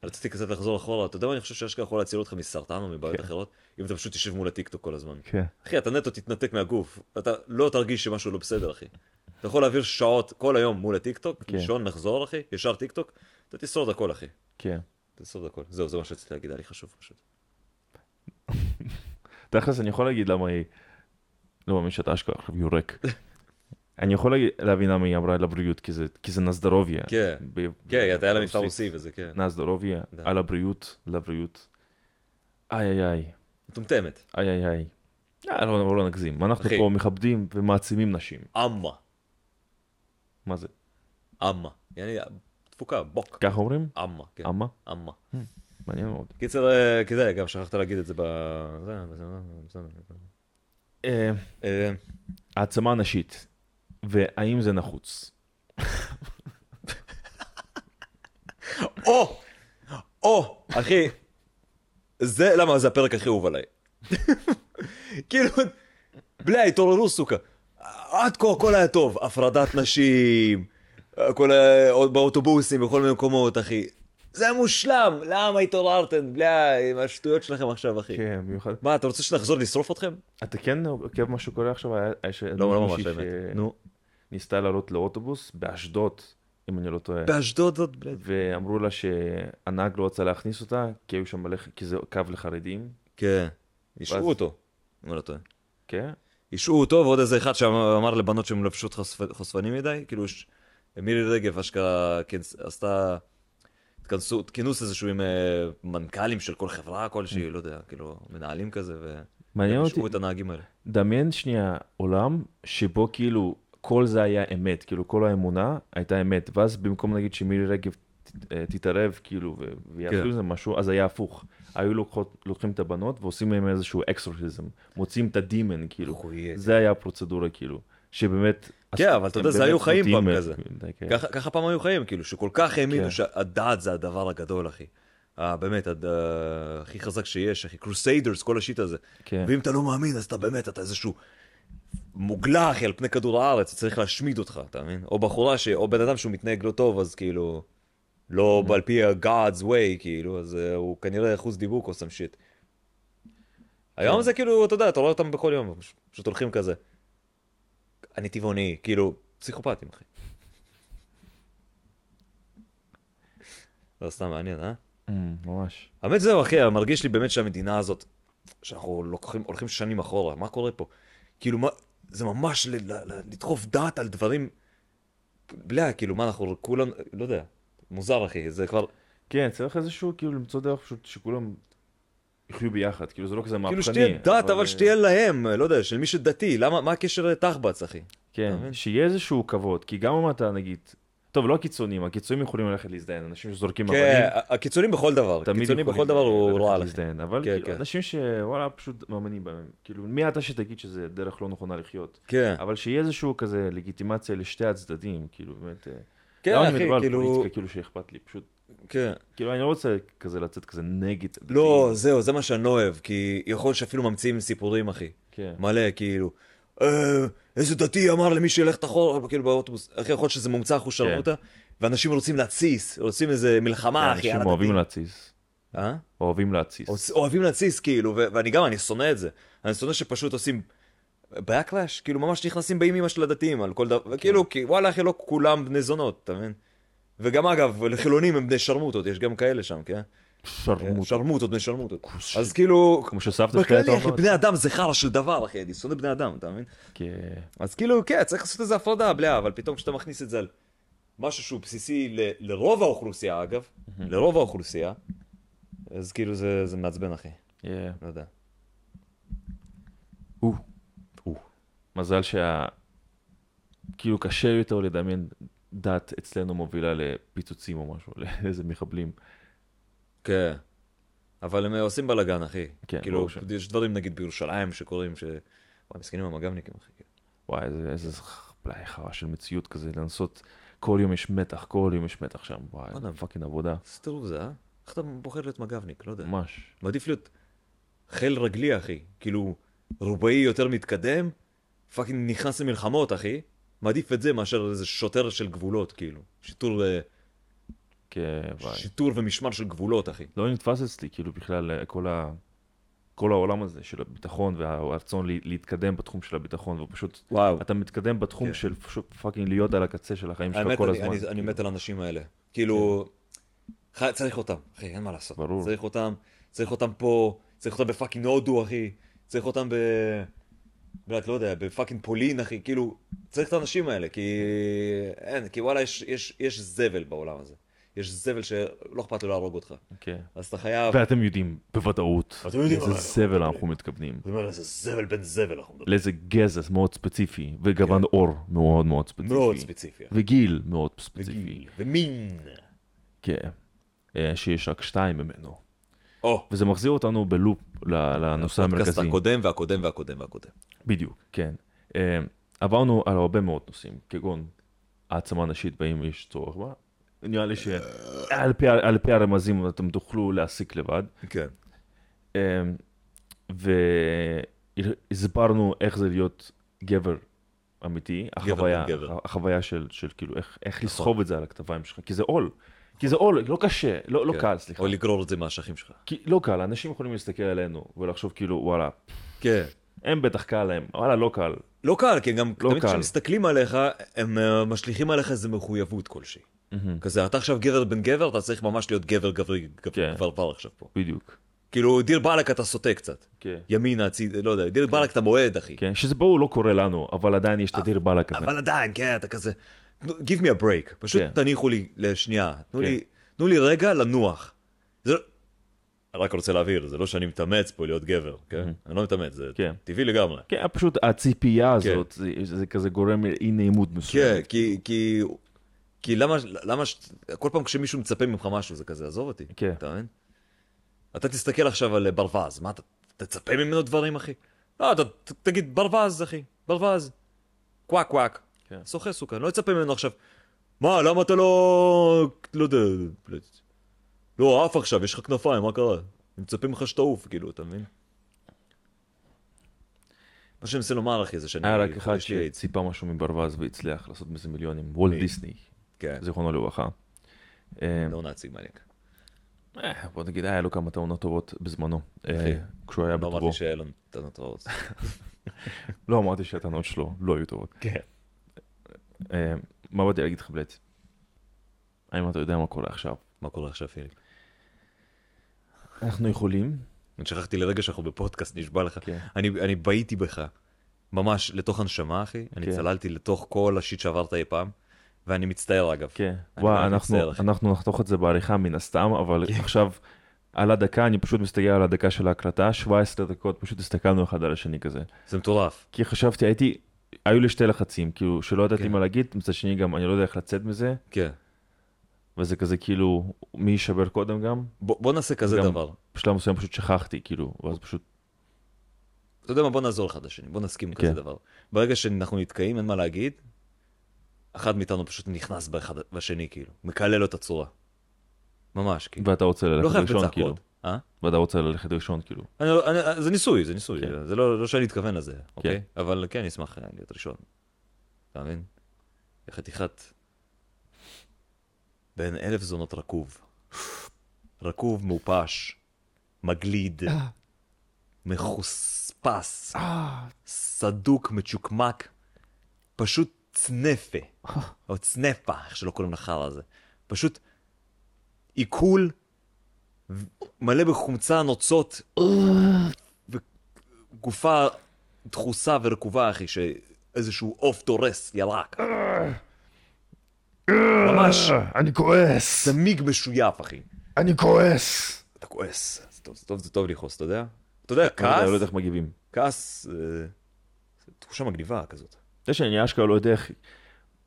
Speaker 1: רציתי קצת לחזור אחורה, אתה יודע מה אני חושב שאשכרה יכול להציל אותך מסרטן או מבעיות
Speaker 2: כן.
Speaker 1: אחרות? אם אתה פשוט תשב מול הטיקטוק כל הזמן.
Speaker 2: כן,
Speaker 1: אחי, אתה נטו תתנתק מהגוף, אתה לא תרגיש שמשהו לא בסדר, אחי. אתה יכול להעביר שעות כל היום מול הטיקטוק,
Speaker 2: כן.
Speaker 1: לישון, נחזור, אחי, ישר טיקטוק, אתה תשרוד הכל, אחי.
Speaker 2: כן.
Speaker 1: תשרוד הכל. זהו, זה מה שרציתי להגיד, היה לי חשוב פשוט.
Speaker 2: תכלס אני יכול להגיד למה היא... לא מאמין שאתה אשכרה עכשיו יורק. אני יכול להגיד- להבין למה היא אמרה לבריאות, כי זה- כי זה נזדרוביה.
Speaker 1: כן.
Speaker 2: ב-
Speaker 1: כן, אתה היה לה מבטא
Speaker 2: ברוסית.
Speaker 1: רוסי וזה, כן.
Speaker 2: נזדרוביה,
Speaker 1: Да.
Speaker 2: על הבריאות, לבריאות. איי איי איי.
Speaker 1: מטומטמת.
Speaker 2: איי איי איי. אה, לא, לא, לא נגזים, אנחנו
Speaker 1: אחי.
Speaker 2: פה מכבדים ומעצימים נשים.
Speaker 1: אמה,
Speaker 2: מה זה?
Speaker 1: אמה. יעני, תפוקה, בוק.
Speaker 2: ככה אומרים?
Speaker 1: אמה, כן.
Speaker 2: אמה?
Speaker 1: אמה.
Speaker 2: מעניין מאוד.
Speaker 1: קיצר, אה, כי זה, גם שכחת להגיד את זה ב... זה, בסדר, בסדר.
Speaker 2: אה,
Speaker 1: אה,
Speaker 2: העצמה נשית, והאם זה נחוץ?
Speaker 1: או! או! אחי, זה למה זה הפרק הכי אהוב עליי. כאילו, בלי התעוררו סוכה. עד כה הכל היה טוב, הפרדת נשים, הכל היה עוד באוטובוסים, בכל מיני מקומות, אחי. זה היה מושלם, למה התעוררתם, בלי, עם השטויות שלכם עכשיו, אחי.
Speaker 2: כן, במיוחד.
Speaker 1: מה, אתה רוצה שנחזור לשרוף אתכם?
Speaker 2: אתה כן עוקב מה שקורה עכשיו? היה- היה ש-
Speaker 1: לא, לא ממש,
Speaker 2: מישהי ש-
Speaker 1: האמת. נו,
Speaker 2: ניסתה לעלות לאוטובוס באשדוד, אם אני לא טועה.
Speaker 1: באשדוד זאת, בלד.
Speaker 2: ואמרו לה שהנהג לא רצה להכניס אותה, כי היו שם מלא, כי זה קו לחרדים,
Speaker 1: כן. השעו
Speaker 2: ואז-
Speaker 1: אותו. אם אני לא טועה.
Speaker 2: כן?
Speaker 1: השעו אותו ועוד איזה אחד שאמר לבנות שהם לבשו חושפ- חושפנים מדי, כאילו ש- מירי רגב אשכרה כנס- עשתה התכנסות, כינוס איזשהו עם אה, מנכ"לים של כל חברה כלשהי, לא יודע, כאילו מנהלים כזה,
Speaker 2: Mm. מעניין אותי,
Speaker 1: והשעו את הנהגים האלה.
Speaker 2: דמיין שנייה עולם שבו כאילו כל זה היה אמת, כאילו כל האמונה הייתה אמת, ואז במקום נגיד שמירי רגב ת- אה, תתערב כאילו ו- ויעשו
Speaker 1: כן.
Speaker 2: איזה משהו, אז היה הפוך. היו לוקחות, לוקחים את הבנות ועושים להם איזשהו אקסורסיזם, מוציאים את הדימן כאילו. זה היה הפרוצדורה כאילו, שבאמת...
Speaker 1: כן, אבל אתה יודע,
Speaker 2: הם
Speaker 1: זה היו
Speaker 2: באמת
Speaker 1: חיים
Speaker 2: נוטים
Speaker 1: פעם
Speaker 2: מהם,
Speaker 1: כזה.
Speaker 2: מדי, כן.
Speaker 1: ככה ככה פעם היו חיים, כאילו, שכל כך האמינו
Speaker 2: כן.
Speaker 1: שהדת זה הדבר הגדול, אחי. אה, באמת, הד- אה, הכי חזק שיש, אחי. קרוסיידרס, כל השיט הזה.
Speaker 2: כן.
Speaker 1: ואם אתה לא מאמין, אז אתה באמת, אתה איזשהו מוגלה, אחי, על פני כדור הארץ, צריך להשמיד אותך, אתה מבין? או בחורה, ש... או בן אדם שהוא מתנהג לא טוב, אז כאילו, לא על פי ה-God's way, כאילו, אז אה, הוא כנראה אחוז דיבוק או סם שיט. היום זה כאילו, אתה יודע, אתה רואה אותם בכל יום, פש- פשוט הולכים כזה. אני טבעוני, כאילו, פסיכופטים, אחי. לא, סתם מעניין, אה?
Speaker 2: אמ, ממש.
Speaker 1: האמת זהו אחי, מרגיש לי באמת שהמדינה הזאת, שאנחנו לוקחים, הולכים שנים אחורה, מה קורה פה? כאילו מה, זה ממש ל, ל, ל, לדחוף דעת על דברים, בלה, כאילו מה אנחנו כולנו, לא יודע, מוזר אחי, זה כבר,
Speaker 2: כן, צריך איזשהו, כאילו, למצוא דרך פשוט שכולם יחיו ביחד, כאילו, זה לא כזה מהפכני.
Speaker 1: כאילו שתהיה דת אבל
Speaker 2: אה,
Speaker 1: שתהיה להם, לא יודע, של מי שדתי, למה, מה הקשר לתחבץ אחי? אתה
Speaker 2: כן,
Speaker 1: מבין?
Speaker 2: שיהיה איזשהו כבוד, כי גם אם אתה, נגיד, טוב, לא הקיצונים, הקיצונים יכולים ללכת להזדיין, אנשים שזורקים
Speaker 1: כן,
Speaker 2: אבנים,
Speaker 1: הקיצונים בכל דבר,
Speaker 2: תמיד
Speaker 1: קיצונים
Speaker 2: יכולים
Speaker 1: בכל דבר הוא
Speaker 2: ללכת
Speaker 1: רע לכם.
Speaker 2: להזדיין, אבל
Speaker 1: כן,
Speaker 2: כאילו,
Speaker 1: כן.
Speaker 2: אנשים שוואלה, פשוט מאמינים בהם, כאילו, מי אתה שתגיד שזה דרך לא נכונה לחיות?
Speaker 1: כן,
Speaker 2: אבל שיהיה איזשהו כזה לגיטימציה לשתי הצדדים, כאילו, באמת... אה,
Speaker 1: כן
Speaker 2: למה אני
Speaker 1: אחי,
Speaker 2: מדבר על
Speaker 1: כאילו,
Speaker 2: פוליטיקה, כאילו שאכפת לי, פשוט,
Speaker 1: כן.
Speaker 2: כאילו, אני לא רוצה כזה לצאת כזה נגד...
Speaker 1: לא,
Speaker 2: דתיים.
Speaker 1: זהו, זה מה שאני לא אוהב, כי יכול להיות שאפילו ממציאים סיפורים אחי.
Speaker 2: כן.
Speaker 1: מלא, כאילו, "אה, איזה דתי אמר למי שילך את החור, כאילו באוטובוס, הכי יכול להיות שזה מומצא אחושרמוטה, ואנשים רוצים להתסיס, רוצים איזה מלחמה, אחי, על
Speaker 2: כן. אנשים
Speaker 1: הדתיים.
Speaker 2: אוהבים להתסיס.
Speaker 1: אה?
Speaker 2: אוהבים להתסיס.
Speaker 1: אוהב- אוהבים להתסיס, כאילו, ו- ואני גם, אני שונא את זה. אני שונא שפשוט עושים backlash, כאילו, ממש נכנסים באימא של הדתיים על כל
Speaker 2: כן.
Speaker 1: דבר, כאילו, כי וואלה, אחי, לא כולם בני זונות, אתה מבין? וגם אגב, לחילונים הם בני שרמוטות, יש גם כאלה שם, כן?
Speaker 2: שרמוט.
Speaker 1: שרמוטות, בני שרמוטות. אז כאילו,
Speaker 2: כמו שסבתא שלך הייתה
Speaker 1: כן. בכללי, אחי,
Speaker 2: אומרת.
Speaker 1: בני אדם זה חרא של דבר, אחי, אני שונא בני אדם, אתה מבין?
Speaker 2: כן.
Speaker 1: אז כאילו, כן, צריך לעשות איזה הפרדה, בלה, אבל פתאום כשאתה מכניס את זה על משהו שהוא בסיסי ל- לרוב האוכלוסייה, אגב, לרוב האוכלוסייה, אז כאילו זה, זה מעצבן, אחי,
Speaker 2: כן.
Speaker 1: לא יודע.
Speaker 2: או,
Speaker 1: או.
Speaker 2: מזל שה... כאילו קשה יותר לדמיין דת אצלנו מובילה לפיצוצים או משהו, לאיזה מחבלים.
Speaker 1: כן. אבל הם עושים בלאגן, אחי.
Speaker 2: כן,
Speaker 1: כאילו,
Speaker 2: ברור ש-
Speaker 1: יש דברים, נגיד, בירושלים שקורים, ש... וואי, מסכנים המג"בניקים, אחי.
Speaker 2: וואי, איזה, איזה בלאי חרא של מציאות כזה, לנסות, כל יום יש מתח, כל יום יש מתח שם, וואי,
Speaker 1: וואלה.
Speaker 2: איזה פאקינג עבודה,
Speaker 1: איזה טירוף זה, אה? איך אתה בוחר להיות מג"בניק? לא יודע.
Speaker 2: ממש.
Speaker 1: מעדיף להיות חיל רגלי, אחי. כאילו, רובאי יותר מתקדם, פאקינג נכנס למלחמות, אחי. מעדיף את זה מאשר איזה שוטר של גבולות, כאילו. שיטור, אה,
Speaker 2: כן, וואי.
Speaker 1: שיטור ומשמר של גבולות, אחי.
Speaker 2: לא נתפס אצלי, כאילו, בכלל, אה, כל ה... כל העולם הזה של הביטחון והרצון לה- להתקדם בתחום של הביטחון, ופשוט
Speaker 1: וואו.
Speaker 2: אתה מתקדם בתחום
Speaker 1: כן.
Speaker 2: של פשוט פאקינג להיות על הקצה של החיים שלך
Speaker 1: האמת,
Speaker 2: כל
Speaker 1: אני,
Speaker 2: הזמן.
Speaker 1: אני, אני מת על האנשים האלה. כאילו, ח... צריך אותם, אחי, אין מה לעשות.
Speaker 2: ברור.
Speaker 1: צריך אותם, צריך אותם פה, צריך אותם בפאקינג הודו, אחי. צריך אותם ב... באמת, לא יודע, בפאקינג פולין, אחי. כאילו, צריך את האנשים האלה, כי... אין, כי וואלה, יש, יש, יש זבל בעולם הזה. יש זבל שלא אכפת לו להרוג אותך.
Speaker 2: כן.
Speaker 1: אז אתה חייב...
Speaker 2: ואתם יודעים בוודאות
Speaker 1: אתם יודעים,
Speaker 2: איזה
Speaker 1: אבל-
Speaker 2: סבל אנחנו מתכוונים.
Speaker 1: זאת אומרת, איזה זבל בן זבל אנחנו מדברים.
Speaker 2: לאיזה גזע מאוד ספציפי, וגוון עור מאוד מאוד ספציפי.
Speaker 1: כן. מאוד ספציפי, אחי.
Speaker 2: וגיל מאוד ספציפי.
Speaker 1: וגיל, ומין.
Speaker 2: כן. אה, שיש רק שתיים ממנו.
Speaker 1: או,
Speaker 2: וזה מחזיר אותנו בלופ ל- לנושא
Speaker 1: הפודקאסט
Speaker 2: המרכזי.
Speaker 1: הקודם והקודם והקודם והקודם.
Speaker 2: בדיוק, כן. אה, עברנו על הרבה מאוד נושאים, כגון העצמה נשית והאם יש צורך בה. נראה לי
Speaker 1: אה.
Speaker 2: שעל פי, על פי הרמזים אתם תוכלו להסיק לבד.
Speaker 1: כן.
Speaker 2: אמ, והסברנו איך זה להיות גבר אמיתי,
Speaker 1: גבר
Speaker 2: החוויה,
Speaker 1: בן גבר.
Speaker 2: הח- החוויה של, של כאילו איך, איך לסחוב
Speaker 1: נכון.
Speaker 2: את זה על הכתביים שלך, כי זה עול, כי זה עול, לא קשה, לא, לא
Speaker 1: כן.
Speaker 2: קל, סליחה,
Speaker 1: או לגרור את זה מהאשכים שלך.
Speaker 2: כי, לא קל, אנשים יכולים להסתכל עלינו ולחשוב כאילו וואלה,
Speaker 1: כן.
Speaker 2: הם בטח קל להם, וואלה לא קל.
Speaker 1: לא קל, כי גם
Speaker 2: לא
Speaker 1: תמיד
Speaker 2: קל.
Speaker 1: כשמסתכלים עליך, הם אה, משליכים עליך איזה מחויבות כלשהי. כזה, אתה עכשיו גבר בן גבר, אתה צריך ממש להיות גבר גברי
Speaker 2: כן.
Speaker 1: גברבר עכשיו פה.
Speaker 2: בדיוק.
Speaker 1: כאילו, דיר באלק אתה סוטה קצת.
Speaker 2: כן.
Speaker 1: ימינה, הציד, לא יודע, דיר באלק אתה מועד, אחי.
Speaker 2: כן, שזה ברור לא קורה לנו, אבל עדיין יש את הדיר באלק הזה.
Speaker 1: אה, אבל עדיין, כן, אתה כזה, תנו- give me a break, פשוט
Speaker 2: כן.
Speaker 1: תניחו לי לשנייה, תנו
Speaker 2: כן.
Speaker 1: לי- תנו לי רגע לנוח. זה לא- אני רק רוצה להבהיר, זה לא שאני מתאמץ פה להיות גבר, כן? אני לא מתאמץ, זה
Speaker 2: כן.
Speaker 1: טבעי לגמרי.
Speaker 2: כן, פשוט הציפייה הזאת, זה- זה כזה גורם לאי נעימות מסוים.
Speaker 1: כן, כי, כי, כי למה, למה, ש- כל פעם כשמישהו מצפה ממך משהו זה כזה, עזוב אותי,
Speaker 2: כן.
Speaker 1: אתה מבין? אתה תסתכל עכשיו על אה, ברווז, מה אתה, תצפה ממנו דברים, אחי? לא, אתה ת- תגיד, ברווז, אחי, ברווז, קוואק קוואק,
Speaker 2: כן.
Speaker 1: סוחר סוכן, לא תצפה ממנו עכשיו, מה, למה אתה לא, לא יודע, לא, עף עכשיו, יש לך כנפיים, מה קרה? הם מצפים ממך שתעוף, כאילו, אתה מבין? מה שאני מנסה לומר, אחי, זה שאני...
Speaker 2: היה אה, רק אחד
Speaker 1: יש לי איידס.
Speaker 2: שציפה משהו מברווז והצליח לעשות מזה מיליונים, וולט דיסני,
Speaker 1: כן,
Speaker 2: זיכרונו לברכה. אה,
Speaker 1: לא נאצי מניאק.
Speaker 2: אה, בוא נגיד, היה לו כמה טעונות טובות בזמנו, אה,
Speaker 1: אחי,
Speaker 2: כשהוא היה
Speaker 1: לא
Speaker 2: בטובו.
Speaker 1: אמרתי שאין לנו טענות רעות.
Speaker 2: לא אמרתי שהטענות שלו לא היו טובות.
Speaker 1: כן.
Speaker 2: אה, מה באתי להגיד לך בלט? האם אתה יודע מה קורה עכשיו?
Speaker 1: מה קורה עכשיו, פיליפ?
Speaker 2: אנחנו יכולים,
Speaker 1: אני שכחתי לרגע שאנחנו בפודקאסט, נשבע לך.
Speaker 2: כן.
Speaker 1: אני אני בעיתי בך, ממש לתוך הנשמה, אחי.
Speaker 2: כן.
Speaker 1: אני צללתי לתוך כל השיט שעברת אי פעם, ואני מצטער, אגב.
Speaker 2: כן,
Speaker 1: אני
Speaker 2: וואי,
Speaker 1: מאוד
Speaker 2: אנחנו,
Speaker 1: מצטער, אחי. כן.
Speaker 2: אנחנו נחתוך את זה בעריכה מן הסתם, אבל עכשיו, על הדקה, אני פשוט מסתכל על הדקה של ההקלטה, 17 דקות, פשוט הסתכלנו אחד על השני כזה.
Speaker 1: זה מטורף.
Speaker 2: כי חשבתי, הייתי, היו לי שתי לחצים, כאילו, שלא ידעתי
Speaker 1: כן.
Speaker 2: מה להגיד, מצד שני גם, אני לא יודע איך לצאת מזה,
Speaker 1: כן.
Speaker 2: וזה כזה כאילו, מי יישבר קודם גם?
Speaker 1: בוא בוא נעשה כזה
Speaker 2: גם-
Speaker 1: דבר.
Speaker 2: בשלב מסוים פשוט שכחתי, כאילו, ואז פשוט,
Speaker 1: אתה יודע מה, בוא נעזור אחד לשני, בוא נסכים
Speaker 2: כן.
Speaker 1: כזה דבר. ברגע שאנחנו נתקעים, אין מה להגיד, אחד מאיתנו פשוט נכנס באחד בשני, כאילו. מקלל לו את הצורה. ממש, כאילו.
Speaker 2: ואתה רוצה
Speaker 1: לא
Speaker 2: ללכת
Speaker 1: חייב
Speaker 2: ראשון,
Speaker 1: בצעקות.
Speaker 2: כאילו,
Speaker 1: אה?
Speaker 2: ואתה רוצה ללכת ראשון, כאילו,
Speaker 1: אני לא, אני, זה ניסוי, זה ניסוי,
Speaker 2: כן.
Speaker 1: כן. זה לא, לא שאני אתכוון לזה, כן. אוקיי? אבל כן, אני אשמח אה, להיות ראשון. אתה מבין? חתיכת... בין אלף זונות רקוב. רקוב מעופש, מגליד, מחוספס, סדוק, מצ'וקמק, פשוט צנפה,
Speaker 2: אה.
Speaker 1: או צנפה, איך שלא קוראים לחרא הזה. פשוט עיכול ו- מלא בחומצה נוצות, וגופה דחוסה ורקובה, אחי, שאיזשהו עוף דורס, ירק. ממש
Speaker 3: אה, אני כועס,
Speaker 1: צמיג משויף, אחי.
Speaker 3: אני כועס.
Speaker 1: אתה כועס. זה טוב, זה טוב, זה טוב לכעוס, אתה יודע? אתה יודע,
Speaker 2: אני לא יודע, לא יודע
Speaker 1: כעס,
Speaker 2: איך מגיבים.
Speaker 1: כעס, אה, זה תחושה מגניבה כזאת.
Speaker 2: זה שאני אשכרה לא יודע איך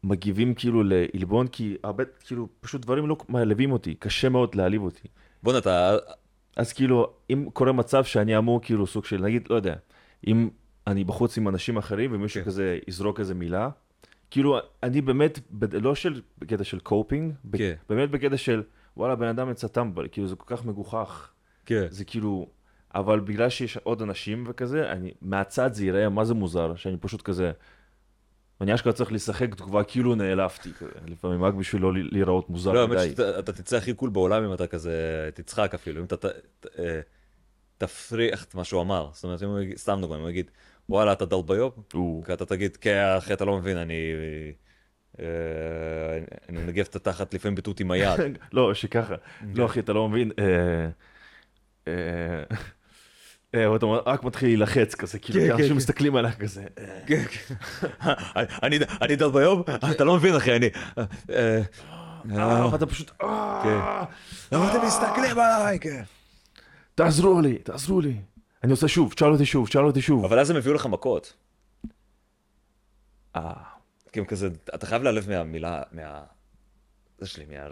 Speaker 2: מגיבים כאילו לעלבון, כי הרבה, כאילו, פשוט דברים לא מעלבים אותי, קשה מאוד להעליב אותי.
Speaker 1: בואנה, אתה...
Speaker 2: אז כאילו, אם קורה מצב שאני אמור כאילו סוג של, נגיד, לא יודע, אם אני בחוץ עם אנשים אחרים ומישהו
Speaker 1: כן.
Speaker 2: כזה יזרוק איזה מילה, כאילו, אני באמת, בד- לא של, בקטע של קופינג, ב-
Speaker 1: כן.
Speaker 2: באמת בקטע של, וואלה, בן אדם יצא טמבל, כאילו, זה כל כך מגוחך,
Speaker 1: כן.
Speaker 2: זה כאילו, אבל בגלל שיש עוד אנשים וכזה, אני, מהצד זה ייראה מה זה מוזר, שאני פשוט כזה, אני אשכרה צריך לשחק תגובה כאילו נעלבתי, כזה, לפעמים רק בשביל לא ל- להיראות מוזר
Speaker 1: לא,
Speaker 2: מדי.
Speaker 1: האמת שאתה אתה תצא הכי קול בעולם אם אתה כזה, תצחק אפילו, אם אתה ת- ת- אה, תפריח את מה שהוא אמר. זאת אומרת, אם הוא יגיד, סתם דוגמא, אם הוא יגיד, וואלה, אתה דלביוב?
Speaker 2: הוא-
Speaker 1: כי אתה תגיד, כן, אחי, אתה לא מבין, אני... אה, אני מנגב את התחת לפעמים בתות עם היד.
Speaker 2: לא, שככה. לא, אחי, אתה לא מבין. אה, אה, אה, ואתה אומר, רק מתחיל להילחץ כזה,
Speaker 1: כן,
Speaker 2: כאילו,
Speaker 1: כן,
Speaker 2: אנשים
Speaker 1: כן.
Speaker 2: מסתכלים עליך כזה.
Speaker 1: כן, כן. אני- אני דל ביום? אתה לא מבין אחי, אני... אה, אה,
Speaker 2: אה, ואתה פשוט, "אה,
Speaker 1: למה אתם מסתכלים עליי? כן.
Speaker 2: תעזרו לי, תעזרו לי. אני עושה שוב, תשאל אותי שוב, תשאל אותי שוב.
Speaker 1: אבל אז הם הביאו לך מכות.
Speaker 2: אה,
Speaker 1: כי הם כזה, אתה חייב להיעלב מהמילה, מה... זה שלי, מה...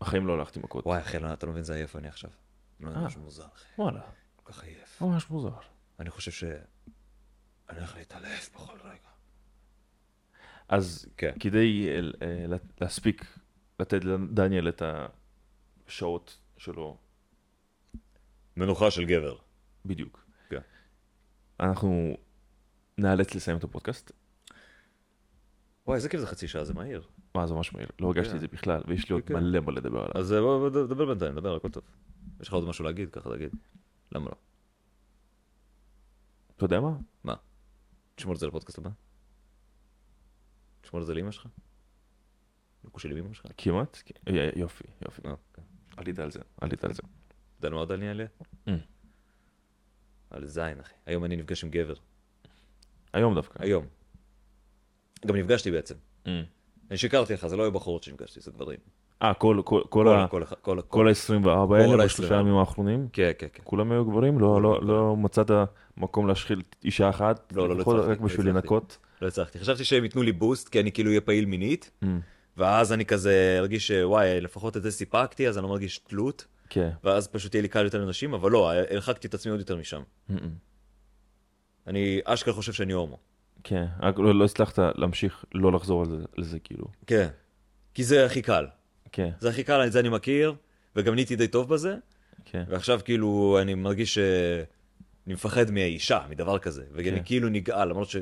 Speaker 2: בחיים לא הלכתי מכות.
Speaker 1: וואי אחי, לא, אתה לא מבין זה עייף אני עכשיו. לא יודע, משהו מוזר אחי,
Speaker 2: וואלה,
Speaker 1: כל כך עייף.
Speaker 2: ממש מוזר.
Speaker 1: אני חושב ש... אני הולך להתעלף בכל רגע.
Speaker 2: אז
Speaker 1: כן.
Speaker 2: כדי אה, אה, לה- להספיק לתת לדניאל את השעות שלו
Speaker 1: מנוחה של גבר.
Speaker 2: בדיוק,
Speaker 1: כן.
Speaker 2: אנחנו נאלץ לסיים את הפודקאסט.
Speaker 1: וואי, איזה כיף זה חצי שעה, זה מהיר.
Speaker 2: מה זה ממש מהיר, לא הרגשתי
Speaker 1: כן.
Speaker 2: את זה בכלל, ויש לי עוד
Speaker 1: כן, כן.
Speaker 2: מלא מה לדבר עליו.
Speaker 1: אז אה, בוא, בוא, דבר בינתיים, דבר, הכל טוב. יש לך עוד משהו להגיד? ככה תגיד. למה לא?
Speaker 2: אתה יודע מה?
Speaker 1: מה? תשמור את זה לפודקאסט הבא? תשמור את זה לאמא שלך? לקוש של אמא שלך?
Speaker 2: כמעט? כן. י- יופי, יופי.
Speaker 1: אה, אוקיי.
Speaker 2: עלית על זה, עלית על זה.
Speaker 1: אתה יודע מה עוד אני אעלה?
Speaker 2: Mm.
Speaker 1: על זין, אחי. היום אני נפגש עם גבר.
Speaker 2: היום דווקא.
Speaker 1: היום. גם נפגשתי בעצם.
Speaker 2: Mm.
Speaker 1: אני שיקרתי לך, זה לא היו בחורות שנפגשתי, זה גברים.
Speaker 2: אה, כל- כל- כל ה-
Speaker 1: כל- כל אחד- כל-
Speaker 2: כל
Speaker 1: כל-
Speaker 2: ה-24
Speaker 1: כל
Speaker 2: האלה
Speaker 1: ה-
Speaker 2: בשלושה ימים האחרונים?
Speaker 1: כן, כן, כן.
Speaker 2: כולם היו גברים? לא, לא, לא מצאת מקום להשחיל אישה אחת?
Speaker 1: לא, לא, לא
Speaker 2: לפחות
Speaker 1: הצלחתי,
Speaker 2: רק
Speaker 1: לא
Speaker 2: בשביל
Speaker 1: הצלחתי.
Speaker 2: לנקות?
Speaker 1: לא הצלחתי. חשבתי שהם ייתנו לי בוסט, כי אני כאילו אהיה פעיל מינית,
Speaker 2: Mm,
Speaker 1: ואז אני כזה ארגיש שוואי, לפחות את זה סיפקתי, אז אני לא מרגיש תלות,
Speaker 2: כן.
Speaker 1: ואז פשוט יהיה לי קל יותר לנשים, אבל לא, הרחקתי את עצמי עוד יותר משם.
Speaker 2: Mm, mm,
Speaker 1: אני אשכרה חושב שאני הומו.
Speaker 2: כן, רק לא לא הצלחת להמשיך לא לחזור על זה- על זה כאילו.
Speaker 1: כן. כי זה הכי קל.
Speaker 2: כן,
Speaker 1: זה הכי קל, את זה אני מכיר, וגם נהייתי די טוב בזה,
Speaker 2: כן.
Speaker 1: ועכשיו כאילו אני מרגיש ש... אני מפחד מאישה, מדבר כזה, ואני
Speaker 2: כן.
Speaker 1: כאילו נגעל, למרות ש...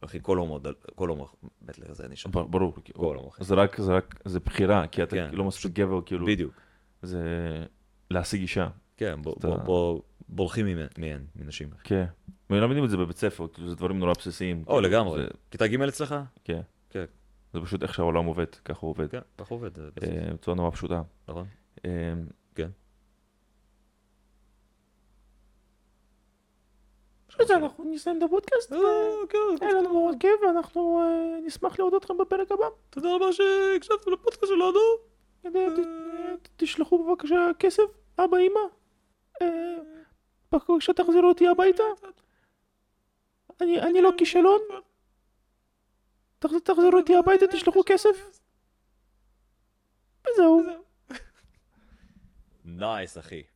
Speaker 1: אחי, כל הומו, דל- כל הומו, מת לזה נשאר.
Speaker 2: בר- ברור. כאילו.
Speaker 1: כל הומו, אחי.
Speaker 2: זה רק, זה רק, זה בחירה, כי אתה
Speaker 1: כן.
Speaker 2: לא מספיק גבר, כאילו,
Speaker 1: בדיוק.
Speaker 2: זה להשיג אישה.
Speaker 1: כן, בוא-
Speaker 2: אתה-
Speaker 1: בוא- בוא- בורחים ממ- מהן, מנשים.
Speaker 2: כן. מלמדים את זה בבית ספר, כאילו, זה דברים נורא בסיסיים.
Speaker 1: או, לגמרי.
Speaker 2: זה-
Speaker 1: כיתה ג' אצלך?
Speaker 2: כן.
Speaker 1: כן.
Speaker 2: זה פשוט איך שהעולם עובד, ככה הוא עובד.
Speaker 1: כן, ככה עובד, זה בסיס,
Speaker 2: אה, בצורה נורא פשוטה.
Speaker 1: נכון?
Speaker 2: אה,
Speaker 1: כן.
Speaker 2: בסדר, אנחנו נסיים את הפודקאסט.
Speaker 1: לא,
Speaker 2: היה לנו מאוד כיף, ואנחנו אה, נשמח לראות אתכם בפרק הבא.
Speaker 1: תודה רבה שהקשבתם לפודקאסט שלנו.
Speaker 2: אה, ת- ת- תשלחו בבקשה כסף, אבא, אמא. אה, בבקשה תחזירו אותי הביתה. אני אני לא כישלון. תחז- תחזירו אותי הביתה, תשלחו כסף. וזהו.
Speaker 1: נייס, אחי.